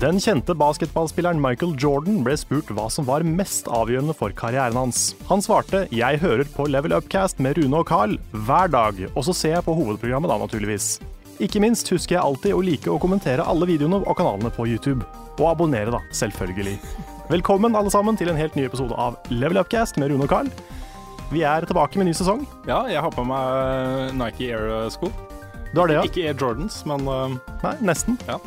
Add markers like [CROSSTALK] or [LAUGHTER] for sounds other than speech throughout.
Den kjente basketballspilleren Michael Jordan ble spurt hva som var mest avgjørende for karrieren hans. Han svarte 'Jeg hører på Level Upcast med Rune og Carl hver dag', og så ser jeg på hovedprogrammet da, naturligvis. Ikke minst husker jeg alltid å like å kommentere alle videoene og kanalene på YouTube. Og abonnere, da, selvfølgelig. Velkommen alle sammen til en helt ny episode av Level Upcast med Rune og Carl. Vi er tilbake med ny sesong. Ja, jeg har på meg Nike Air-sko. Du har det, ja? Ikke Air Jordans, men Mm. øh, Nei, nesten. ja.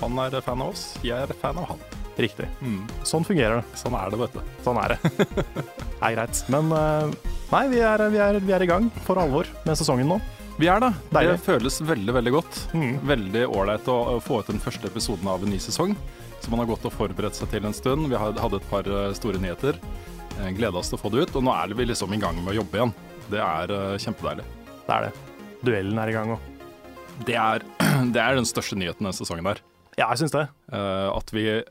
Han er fan av oss, jeg er fan av han. Riktig. Mm. Sånn fungerer det. Sånn er det, vet du. Sånn er det. [LAUGHS] Det er greit. Men eh, nei, vi er, vi, er, vi er i gang for alvor med sesongen nå. Vi er det. Deilig. Det føles veldig, veldig godt. Mm. Veldig ålreit å å få ut den første episoden av en ny sesong. Så man har gått og forberedt seg til en stund. Vi had- hadde et par eh, store nyheter. Gleda oss til å få det ut. Og nå er vi liksom i gang med å jobbe igjen. Det er eh, kjempedeilig. Det er det. Duellen er i gang òg. Det er, [CLEARS THROAT] det er den største nyheten denne sesongen der. Ja, jeg syns det. Eh, at vi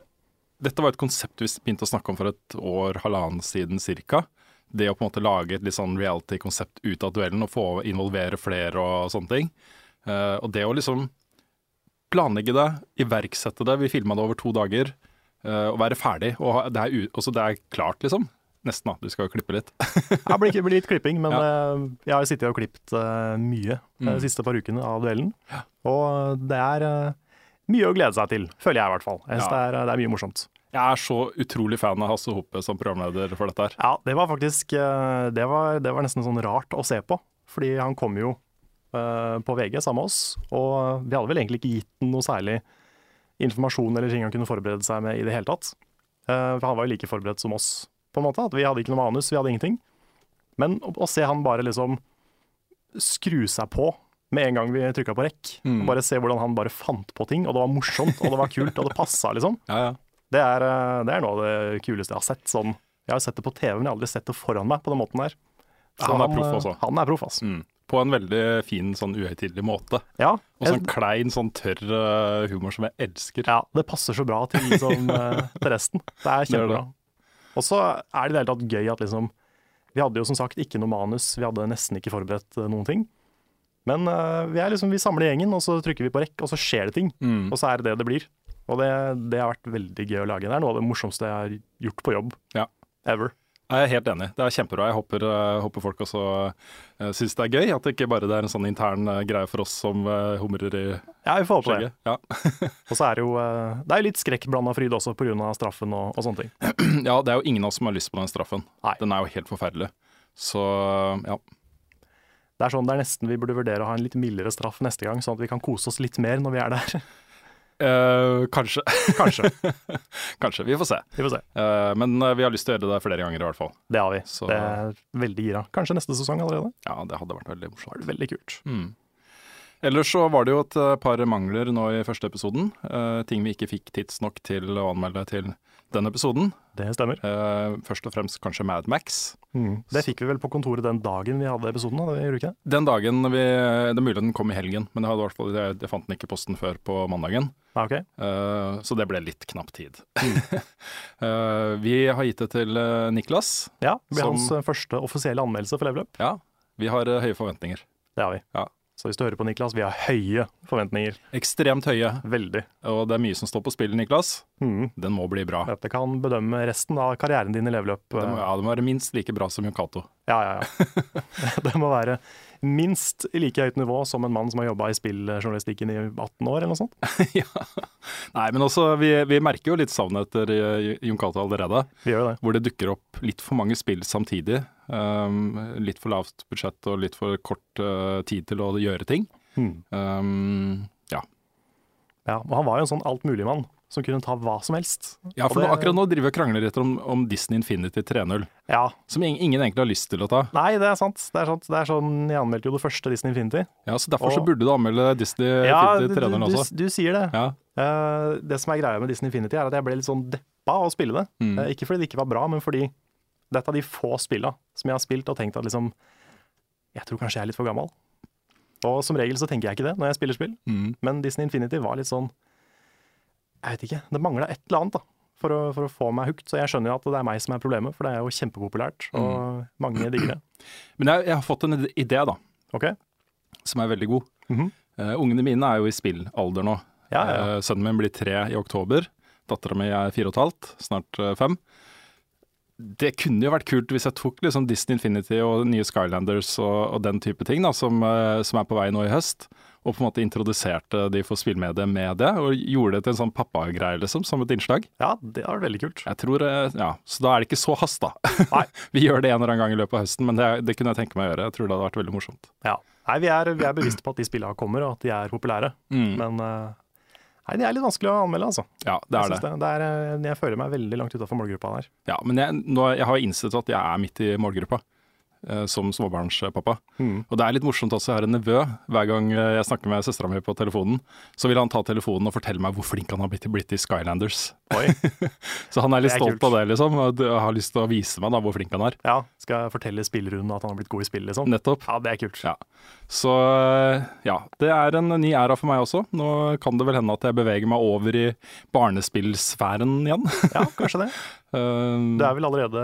Dette var et konsept vi begynte å snakke om for et år, halvannen siden cirka. Det å på en måte lage et litt sånn reality-konsept ut av duellen og få involvere flere og sånne ting. Eh, og det å liksom planlegge det, iverksette det. Vi filma det over to dager. eh, og være ferdig. Og ha- det er, u- også det er klart, liksom. Nesten, da. Du skal jo klippe litt. Det blir, det blir litt klipping, [LAUGHS] men eh, jeg har sittet og klippet eh, mye de Mm. siste par ukene av duellen. Og det er eh, mye å glede seg til, føler jeg i hvert fall. Jeg synes Ja. det, er, eh, det er mye morsomt. Jeg er så utrolig fan av Hasse Hope som programleder for dette her. Ja, det var faktisk eh, det var, det var nesten sånn rart å se på, fordi han kom jo eh, på VG sammen med oss, og vi hadde vel egentlig ikke gitt den noe særlig informasjon eller ting han kunne forberede seg med i det hele tatt. Eh, for han var jo like forberedt som oss, på en måte. At vi hadde ikke noe manus, vi hadde ingenting. Men å, å se han bare liksom skru seg på med en gang vi trykka på rekk, Mm. bare se hvordan han bare fant på ting, og det var morsomt, og det var kult, og det passa, liksom. Ja, ja. Det er, eh, det er noe av det kuleste jeg har sett. Sånn, jeg har sett det på TV, men jeg har aldri sett det foran meg på den måten der. Så Han er eh, proff også. Han er proff, altså. Mm. På en veldig fin, sånn uhøytidelig måte. Ja, Og sånn jeg- klein, sånn tørr eh, humor som jeg elsker. ja, det passer så bra til, [LAUGHS] liksom, eh, til resten. Det er gjør kjempebra. Og så er det i det hele tatt gøy at liksom Vi hadde jo som sagt ikke noe manus, vi hadde nesten ikke forberedt eh, noen ting. Men eh, vi, er liksom, vi samler gjengen, og så trykker vi på rekk, og så skjer det ting. Mm. Og så er det det det blir. Og det, det har vært veldig gøy å lage. Det er noe av det morsomste jeg har gjort på jobb. Ja. Ever. Jeg er helt enig. Det er kjempebra. Jeg håper, eh, håper folk også uh, syns det er gøy. At det ikke bare det er en sånn intern eh, greie for oss som eh, humrer i Ja, vi får håpe det. skjegget. Ja. [CLEARS THROAT] Og så er det jo eh, det er jo litt skrekkblanda fryd også pga. straffen og, og sånne ting. ja, det er jo ingen av oss som har lyst på den straffen. Nei. Den er jo helt forferdelig. Så ja. Det er sånn det er nesten vi burde vurdere å ha en litt mildere straff neste gang, sånn at vi kan kose oss litt mer når vi er der. [LAUGHS] Eh, kanskje. [LAUGHS] Kanskje. kanskje. Vi får se. Vi får se. Eh, men eh, vi har lyst til å gjøre det der flere ganger i hvert fall. Det har vi. Så- Det er veldig gira. Kanskje neste sesong allerede. Ja, det hadde vært veldig morsomt. Veldig kult. Mm. Ellers så var det jo et eh, par mangler nå i første episoden. eh, ting vi ikke fikk tidsnok til å anmelde til den episoden. Det stemmer. Eh, først og fremst kanskje Mad Max. Det fikk vi vel på kontoret den dagen vi hadde episoden, da, gjorde vi ikke det? Den dagen vi Det er mulig den kom i helgen, men jeg, hadde i hvert fall, jeg, jeg fant den ikke i posten før på mandagen. Ja, ok. Eh, så det ble litt knapp tid. [LAUGHS] Eh, vi har gitt det til eh, Niklas. Ja, det ble Som- hans eh, første offisielle anmeldelse for Level Up. Ja, vi har eh, høye forventninger. Det har vi. Ja. Så hvis du hører på, Niklas, vi har høye forventninger. Ekstremt høye, Veldig. og det er mye som står på spill, Niklas. Mm. Den må bli bra. Dette kan bedømme resten av karrieren din i eh, leveløp. Den må, ja, den må være minst like bra som Yokato. Ja, ja, ja. [LAUGHS] Det må være minst i like høyt nivå som en mann som har jobba i spilljournalistikken i 18 år, eller noe sånt. ja. Nei, men også, vi, vi merker jo litt savnet etter eh, Yokato allerede. Vi gjør jo det. hvor det dukker opp litt for mange spill samtidig. Um, litt for lavt budsjett og litt for kort uh, tid til å gjøre ting. Mm. Um, ja. Ja, og han var jo en sånn altmuligmann som kunne ta hva som helst. ja, for Og det- nå, akkurat nå driver vi og krangler etter om, om Disney Infinity 3.0, Ja. som ing- ingen egentlig har lyst til å ta. Nei, det er sant. Det er sant. Det er sånn, Jeg anmeldte jo det første Disney Infinity. Ja, Så derfor så Og- burde du anmelde Disney du, Infinity du, 3.0 også. du, du sier det. Ja. Eh, det som er greia med Disney Infinity, er at jeg ble litt sånn deppa av å spille det. Mm. Eh, ikke fordi det ikke var bra, men fordi det er et av de få spilla som jeg har spilt og tenkt at liksom Jeg tror kanskje jeg er litt for gammel. Og som regel så tenker jeg ikke det når jeg spiller spill, Mm. men Disney Infinity var litt sånn Jeg vet ikke. Det mangla et eller annet, da. For å, for å få meg hooked. Så jeg skjønner jo at det er meg som er problemet, for det er jo kjempepopulært, Mm. og mange digger det. Men jeg, jeg har fått en ide- idé, da, OK? som er veldig god. Mhm. Eh, ungene mine er jo i spillalder nå. Ja, ja, ja. Eh, sønnen min blir tre i oktober. Dattera mi er fire og et halvt, snart eh, fem. Det kunne jo vært kult hvis jeg tok liksom Disney Infinity og nye Skylanders og, og den type ting da, som, eh, som er på vei nå i høst, og på en måte introduserte de for spillmediet med det, og gjorde det til en sånn pappagreie, liksom, som et innslag. Ja, det har vært veldig [LAUGHS] kult. Jeg tror, eh, ja, Så da er det ikke så hast, da. [LAUGHS] Nei. Vi gjør det en eller annen gang i løpet av høsten, men det, det kunne jeg tenke meg å gjøre. Jeg tror det hadde vært veldig morsomt. Ja. Nei, vi er, vi er bevisste på at de spillene kommer, og at de er populære. Men eh, nei, det er litt vanskelig å anmelde, altså. Ja, Mm. det er jeg, det. synes det. Det er, eh, jeg føler meg veldig langt utafor målgruppa der. Ja, men jeg, nå, jeg har innsett at jeg er midt i målgruppa eh, som småbarnspappa. Og det er litt morsomt også, jeg har en nevø. Hver gang eh, jeg snakker med søstera mi på telefonen, så vil han ta telefonen og fortelle meg hvor flink han har blitt, blitt i Skylanders. Oi. Så han er litt Det er stolt kult. av det, liksom. Og d- har lyst til å vise meg da hvor flink han er. Ja, skal jeg fortelle spillrunden at han har blitt god i spill, liksom? Nettopp. Ja, det er kult. Ja. Så eh, ja, det er en ny æra for meg også. Nå kan det vel hende at jeg beveger meg over i barnespillsfæren igjen. Ja, kanskje det. Eh, Du er vel allerede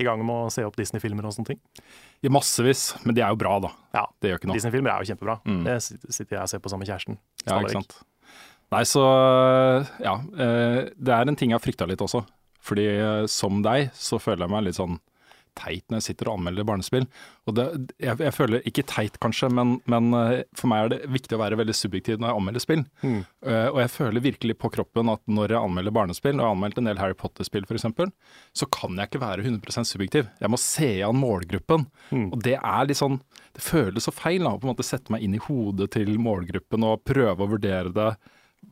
i gang med å se opp Disney-filmer og sånne ting? i Massevis, men de er jo bra, da. Ja. Det gjør ikke noe. Disney-filmer er jo kjempebra. Mm. Det sit- sitter jeg og ser på sammen med kjæresten. Ja, stadig ikke vekk. sant. Nei, så ja. eh, Det er en ting jeg har frykta litt også. Fordi eh, som deg, så føler jeg meg litt sånn teit når jeg sitter og anmelder barnespill. Og det, jeg, jeg føler Ikke teit kanskje, men, men eh, for meg er det viktig å være veldig subjektiv når jeg anmelder spill. Mm. Eh, og jeg føler virkelig på kroppen at når jeg anmelder barnespill, og jeg har anmeldt en del Harry Potter-spill f.eks., så kan jeg ikke være 100 subjektiv. Jeg må se an målgruppen. Mm. Og det er litt sånn Det føles så feil da, å på en måte sette meg inn i hodet til målgruppen og prøve å vurdere det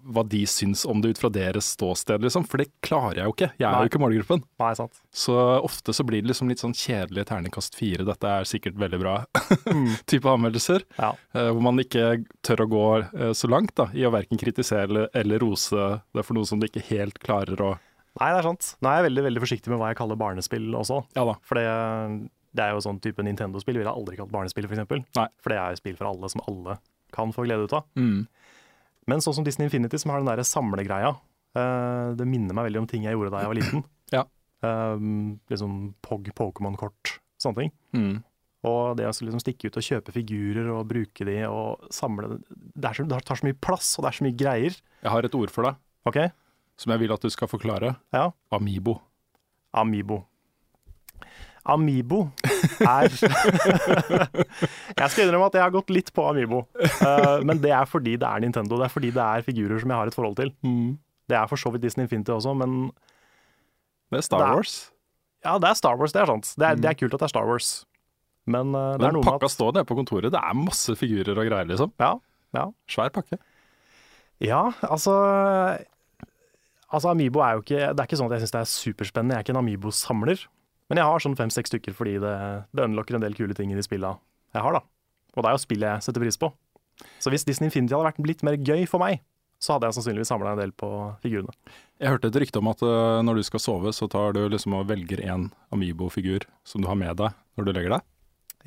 hva de syns om det ut fra deres ståsted, liksom. For det klarer jeg jo ikke. Jeg er Nei. jo ikke målgruppen. Nei, sant. Så ofte så blir det liksom litt sånn kjedelig terningkast fire, dette er sikkert veldig bra [LAUGHS] Mm. type anmeldelser. Ja. Eh, hvor man ikke tør å gå eh, så langt da, i å verken kritisere eller, eller rose det for noe som du ikke helt klarer å Nei, det er sant. Nå er jeg veldig, veldig forsiktig med hva jeg kaller barnespill også. Ja da. For det, det er jo sånn type Nintendo-spill. Ville jeg aldri kalt barnespill, f.eks. Nei. For det er jo spill for alle som alle kan få glede ut av. Mm. Men sånn som Disney Infinity, som har den der samlegreia, eh, det minner meg veldig om ting jeg gjorde da jeg var liten. Ja. Um, liksom Pog, Pokémon-kort, sånne ting. Mm. Og det å så liksom stikke ut og kjøpe figurer og bruke de og samle Det, er så, det tar så mye plass, og det er så mye greier. Jeg har et ord for deg OK? som jeg vil at du skal forklare. Ja. Amibo. Amibo. Amibo er Jeg skal innrømme at jeg har gått litt på Amibo. Eh, men det er fordi det er Nintendo. Det er fordi det er figurer som jeg har et forhold til. Det er for så vidt Disney Infinity også, men Det er Star Det er- Wars. ja, det er Star Wars, det er sant. Det er, det er kult at det er Star Wars. Men eh, det er Den noe med pakka at står nede på kontoret. Det er masse figurer og greier, liksom. ja, ja. Svær pakke. ja, altså Altså Amibo er jo ikke Det er ikke sånn at jeg syns det er superspennende. Jeg er ikke en Amibo-samler. Men jeg har sånn fem-seks stykker fordi det, det unlocker en del kule ting i de spilla jeg har, da. Og det er jo spill jeg setter pris på. Så hvis Disney Infinity hadde vært litt mer gøy for meg, så hadde jeg sannsynligvis samla en del på figurene. Jeg hørte et rykte om at øh, når du skal sove, så tar du liksom og velger en Amibo-figur som du har med deg når du legger deg.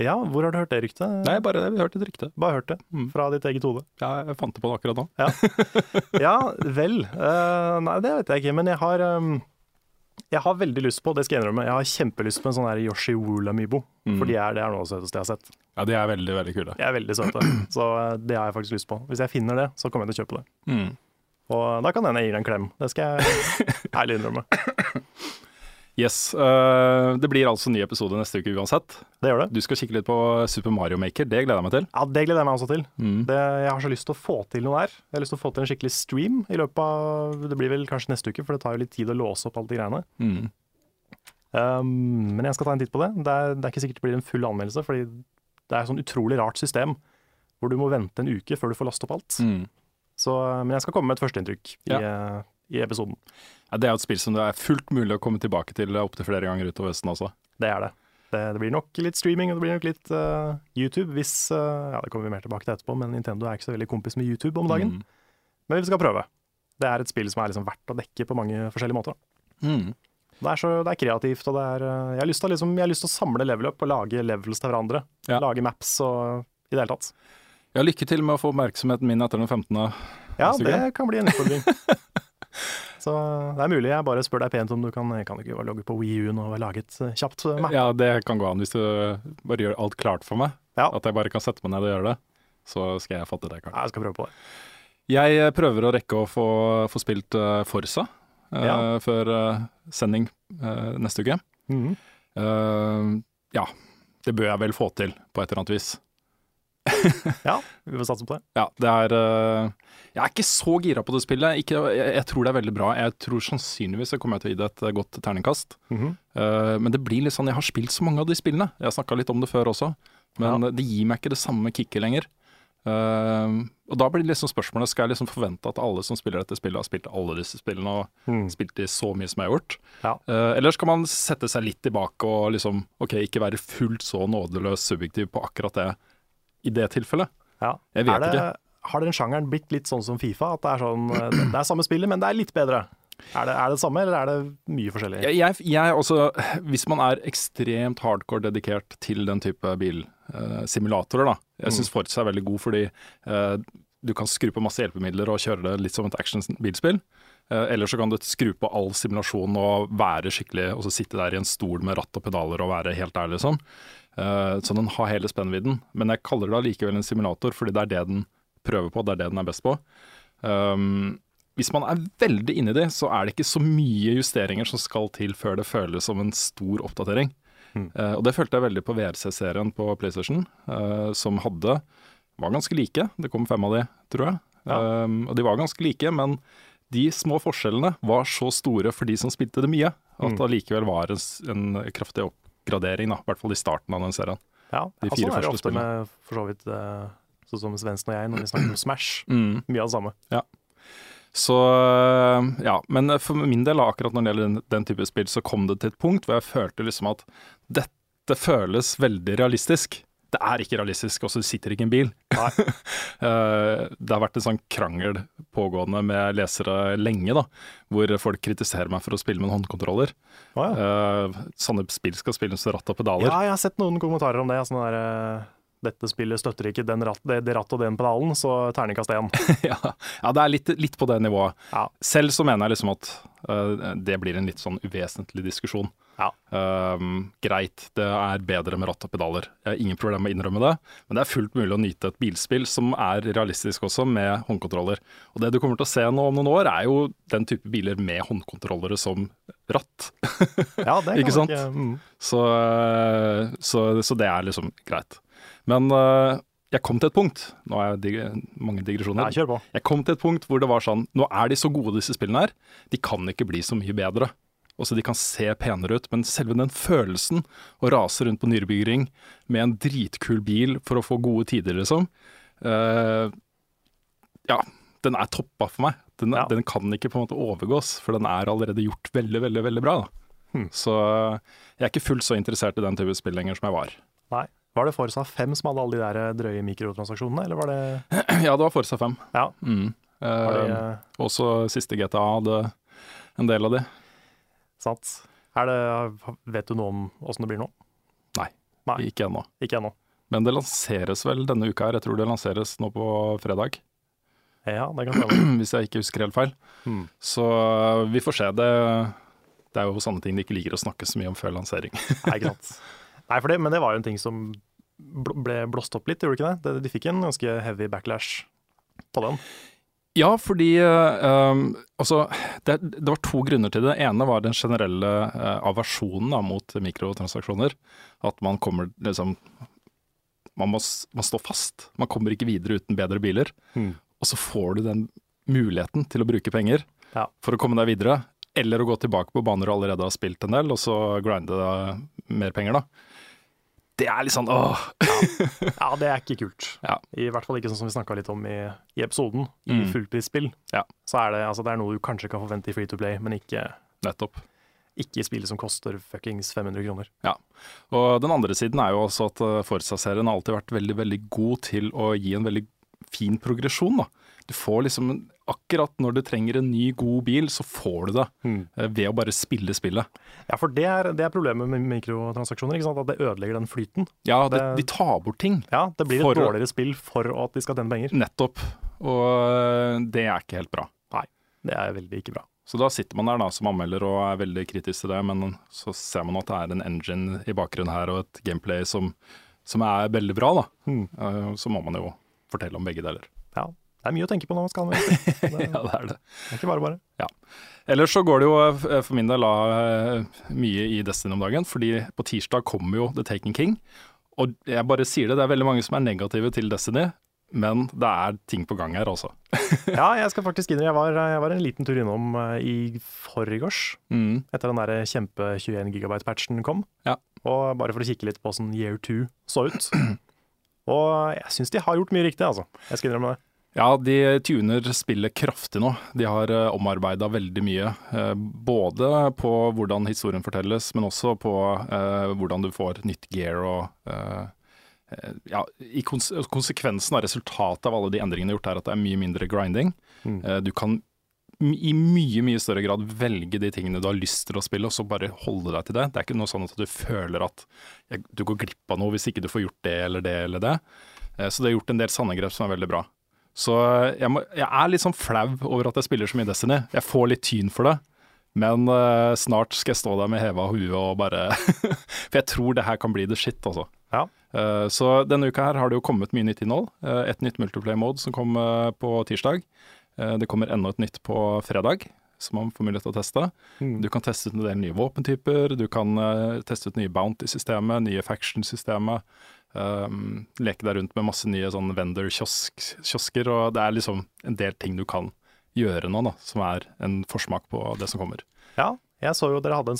Ja, hvor har du hørt det ryktet? Nei, bare vi hørte et rykte. Bare hørt det Mm. fra ditt eget [LAUGHS] hode. Ja, jeg fant det på det akkurat nå. Ja, vel. eh, nei, det vet jeg ikke. Men jeg har, eh, Jeg har veldig lyst på, det skal jeg innrømme, jeg har kjempelyst på en sånn her Yoshi Wool-amibo. Mm. For de er, det er noe av det søteste jeg har sett. Ja, de er veldig, veldig kule. De er veldig søte, så eh, det har jeg faktisk lyst på. Hvis jeg finner det, så kommer jeg til å kjøpe det. Mm. Og da kan hende jeg gir deg en klem. Det skal jeg ærlig innrømme. Yes. øh, det blir altså ny episode neste uke uansett. Det gjør det. Du skal kikke litt på Super Mario Maker, det gleder jeg meg til. Ja, Det gleder jeg meg også til. Mm. Det, jeg har så lyst til å få til noe her. Jeg har lyst til å få til en skikkelig stream i løpet av Det blir vel kanskje neste uke, for det tar jo litt tid å låse opp alle de greiene. Mm. Um, men jeg skal ta en titt på det. Det er, det er ikke sikkert det blir en full anmeldelse, fordi det er et sånn utrolig rart system hvor du må vente en uke før du får lastet opp alt. Mm. Så, men jeg skal komme med et førsteinntrykk i, eh, i episoden. Ja, det er jo et spill som det er fullt mulig å komme tilbake til opptil flere ganger utover høsten også. Det er det. det. Det blir nok litt streaming og det blir nok litt eh, YouTube hvis eh, Ja, det kommer vi mer tilbake til etterpå, men Nintendo er ikke så veldig kompis med YouTube om dagen. Mm. Men vi skal prøve. Det er et spill som er liksom verdt å dekke på mange forskjellige måter. Mm. Det er, så, det er kreativt, og det er eh, Jeg har lyst til å, liksom, jeg har lyst til å samle level up og lage levels til hverandre. Ja. Lage maps og i det hele tatt. Ja, lykke til med å få oppmerksomheten min etter den 15. Ja, Neste det kan bli en [LAUGHS] utfordring. Så det er mulig jeg bare spør deg pent om du kan Kan du ikke bare logge på WiiU-en og lage et eh, kjapt eh, map? Ja, det kan gå an hvis du bare gjør alt klart for meg. Ja. At jeg bare kan sette meg ned og gjøre det. Så skal jeg fatte det. Karl. Ja, jeg skal prøve på det. Jeg eh, prøver å rekke å få, få spilt eh, Forsa eh, Ja. før eh, sending eh, neste uke. Mhm. Eh, ja, det bør jeg vel få til på et eller annet vis. Ja, vi får satse på det. Ja, det er eh, Jeg er ikke så gira på det spillet. Ikke, jeg, jeg tror det er veldig bra. Jeg tror sannsynligvis jeg kommer jeg til å gi det et godt terningkast. Mhm. Eh, men det blir litt sånn Jeg har spilt så mange av de spillene. Jeg har snakka litt om det før også, men det gir meg ikke det samme kicket lenger. Eh, og da blir det liksom spørsmålet Skal jeg liksom forvente at alle som spiller dette spillet, har spilt alle disse spillene og Mhm. spilt de så mye som jeg har gjort? Ja. Eh, eller skal man sette seg litt tilbake og liksom OK, ikke være fullt så nådeløs subjektiv på akkurat det i det tilfellet? Ja. Jeg vet er det, ikke. Har den sjangeren blitt litt sånn som Fifa? At det er sånn eh, Det er samme spillet, men det er litt bedre. Er det, er det samme, eller er det mye forskjellig? Jeg, jeg, jeg også, hvis man er ekstremt hardcore dedikert til den type bilsimulatorer, da. Jeg syns Forza er veldig god fordi eh, du kan skru på masse hjelpemidler og kjøre det litt som et actionbilspill. Uh, eller så kan du skru på all simulasjon og være skikkelig, og så sitte der i en stol med ratt og pedaler og være helt der, liksom. Eh, så den har hele spennvidden. Men jeg kaller det allikevel en simulator, fordi det er det den prøver på, det er det den er best på. Um, hvis man er veldig inni det, så er det ikke så mye justeringer som skal til før det føles som en stor oppdatering. Eh, og det følte jeg veldig på VRC-serien på PlayStation, eh, som hadde var ganske like. Det kom fem av de, tror jeg. Um, og de var ganske like, men de små forskjellene var så store for de som spilte det mye, at det allikevel var en, s- en kraftig oppgradering, da, i hvert fall i starten av den serien. Ja, De ja, fire sånn er det første ofte med for så vidt eh, sånn som Svendsen og jeg når vi snakker om Smash. Mm. Mye av det samme. Så eh, ja, men for min del, akkurat når det gjelder den, den type spill, så kom det til et punkt hvor jeg følte liksom at dette føles veldig realistisk. Det er ikke realistisk, og så sitter det ikke i en bil. Eh, det har vært en sånn krangel pågående med lesere lenge, da, hvor folk kritiserer meg for å spille med en håndkontroller. Å, [LAUGHS] ja. Eh, sånne spill skal spilles med ratt og pedaler. ja, jeg har sett noen kommentarer om det. Sånn der eh, Dette spillet støtter ikke den ratt, det, det ratt og den pedalen, så terningkast én. [LAUGHS] ja, ja, det er litt, litt på det nivået. Ja. Selv så mener jeg liksom at eh, det blir en litt sånn uvesentlig diskusjon. Ja. Ehm, greit, det er bedre med ratt og pedaler. Jeg har ingen problemer med å innrømme det, men det er fullt mulig å nyte et bilspill som er realistisk også, med håndkontroller. Og det du kommer til å se nå om noen år, er jo den type biler med håndkontrollere som ratt. Ja, det kan Ikke sant? mm. Så, eh, så, så det er liksom greit. Men eh, jeg kom til et punkt, nå er jeg dig mange digresjoner, Nei, kjør på. jeg kom til et punkt hvor det var sånn Nå er de så gode disse spillene her, de kan ikke bli så mye bedre. Også de kan se penere ut, men selve den følelsen å rase rundt på Nürburgring med en dritkul bil for å få gode tider, liksom eh, Ja, den er toppa for meg. Den, Ja. den kan ikke på en måte overgås, for den er allerede gjort veldig, veldig veldig bra. Da. Hmm. Så jeg er ikke fullt så interessert i den type spill lenger som jeg var. [CLEARS THROAT] Nei. Var det Forsa 5 som hadde alle de der eh, drøye mikrotransaksjonene, eller var det Ja, det var Forsa 5. Ja. Mm. Var det, Eh, eh, også siste GTA hadde en del av de. sant? Er det, vet du noe om åssen det blir nå? Nei. Ikke ennå. Ikke ennå. Men det lanseres vel denne uka her. Jeg tror det lanseres nå på fredag, [CLEARS THROAT] Ja, det kan stemme. hvis jeg ikke husker helt feil. Mm. Så vi får se. Det, Det er jo sånne ting de ikke liker å snakke så mye om før lansering. [LAUGHS] Nei, ikke sant. Nei, for det, men det var jo en ting som bl- ble blåst opp litt, gjorde det ikke det? det? De fikk en ganske heavy backlash på den. Ja, fordi eh, um, altså, det, det var to grunner til det. Det ene var den generelle eh, aversjonen da, mot mikrotransaksjoner. At man kommer liksom man må, s- man står fast. Man kommer ikke videre uten bedre biler. Og så får du den muligheten til å bruke penger Ja. for å komme deg videre. Eller å gå tilbake på baner du allerede har spilt en del, og så grinde deg mer penger, da. Det er litt sånn åh. Ja, det er ikke kult. Ja. I hvert fall ikke sånn som vi snakka litt om i, i episoden. I Mm. fullprisspill Ja. så er det, altså, det er noe du kanskje kan forvente i Free to Play, men ikke, Nettopp. ikke i spill som koster fuckings 500 kroner. Ja. Og den andre siden er jo også at eh, Forza-serien har alltid vært veldig, veldig god til å gi en veldig fin progresjon, da. Du får liksom en- Akkurat når du trenger en ny, god bil, så får du det. eh, Ved å bare spille spillet. Ja, for det er, det er problemet med mikrotransaksjoner, ikke sant? at det ødelegger den flyten. Ja, de, Det- de tar bort ting. Ja, Det blir et For- dårligere spill for at de skal tjene penger. Nettopp. Og eh, det er ikke helt bra. Nei, det er veldig ikke bra. Så da sitter man der da som anmelder og er veldig kritisk til det, men så ser man at det er en engine i bakgrunnen her og et gameplay som, som er veldig bra, da. Eh, Så må man jo fortelle om begge deler. Hm, Ja, Det er mye å tenke på når man skal [LAUGHS] anmelde spill. Det Ja, det er det. er ikke bare bare. Ja. Ellers så går det jo eh, for min del av eh, mye i Destiny om dagen, fordi på tirsdag kommer jo The Taken King. Og jeg bare sier det, det er veldig mange som er negative til Destiny, men det er ting på gang her, altså. Ja, jeg skal faktisk innrømme, jeg var, jeg var en liten tur innom eh, i forgårs. Mm. etter den der kjempe 21 gigabyte-patchen kom. Ja. Og bare for å kikke litt på hvordan Year 2 så ut. [CLEARS THROAT] Og jeg syns de har gjort mye riktig, altså. Jeg skal innrømme det. Ja, de tuner spillet kraftig nå. De har uh, omarbeida veldig mye. eh, både på hvordan historien fortelles, men også på eh, hvordan du får nytt gear og eh, eh, ja, i kons Konsekvensen av resultatet av alle de endringene gjort, er at det er mye mindre grinding. Mm. Eh, du kan m- i mye mye større grad velge de tingene du har lyst til å spille, og så bare holde deg til det. Det er ikke noe sånn at du føler at jeg, du går glipp av noe hvis ikke du får gjort det eller det eller det. Eh, Så det er gjort en del sanne grep som er veldig bra. Så jeg, må, jeg er litt sånn flau over at jeg spiller så mye Destiny. Jeg får litt tyn for det, men eh, snart skal jeg stå der med heva hue og bare [LAUGHS] For jeg tror det her kan bli the shit, altså. Ja. Eh, så denne uka her har det jo kommet mye nytt innhold. Eh, et nytt multiplayer-mode som kom eh, på tirsdag. Eh, det kommer enda et nytt på fredag, som man får mulighet til å teste. Du kan teste ut en del nye våpentyper, du kan eh, teste ut nye bounty-systemet, nye faction-systemet. Um, leke deg rundt med masse nye sånn vendor-kiosker, og det er liksom en del ting du kan gjøre nå, da, som er en forsmak på det som kommer. Ja, jeg så jo dere hadde en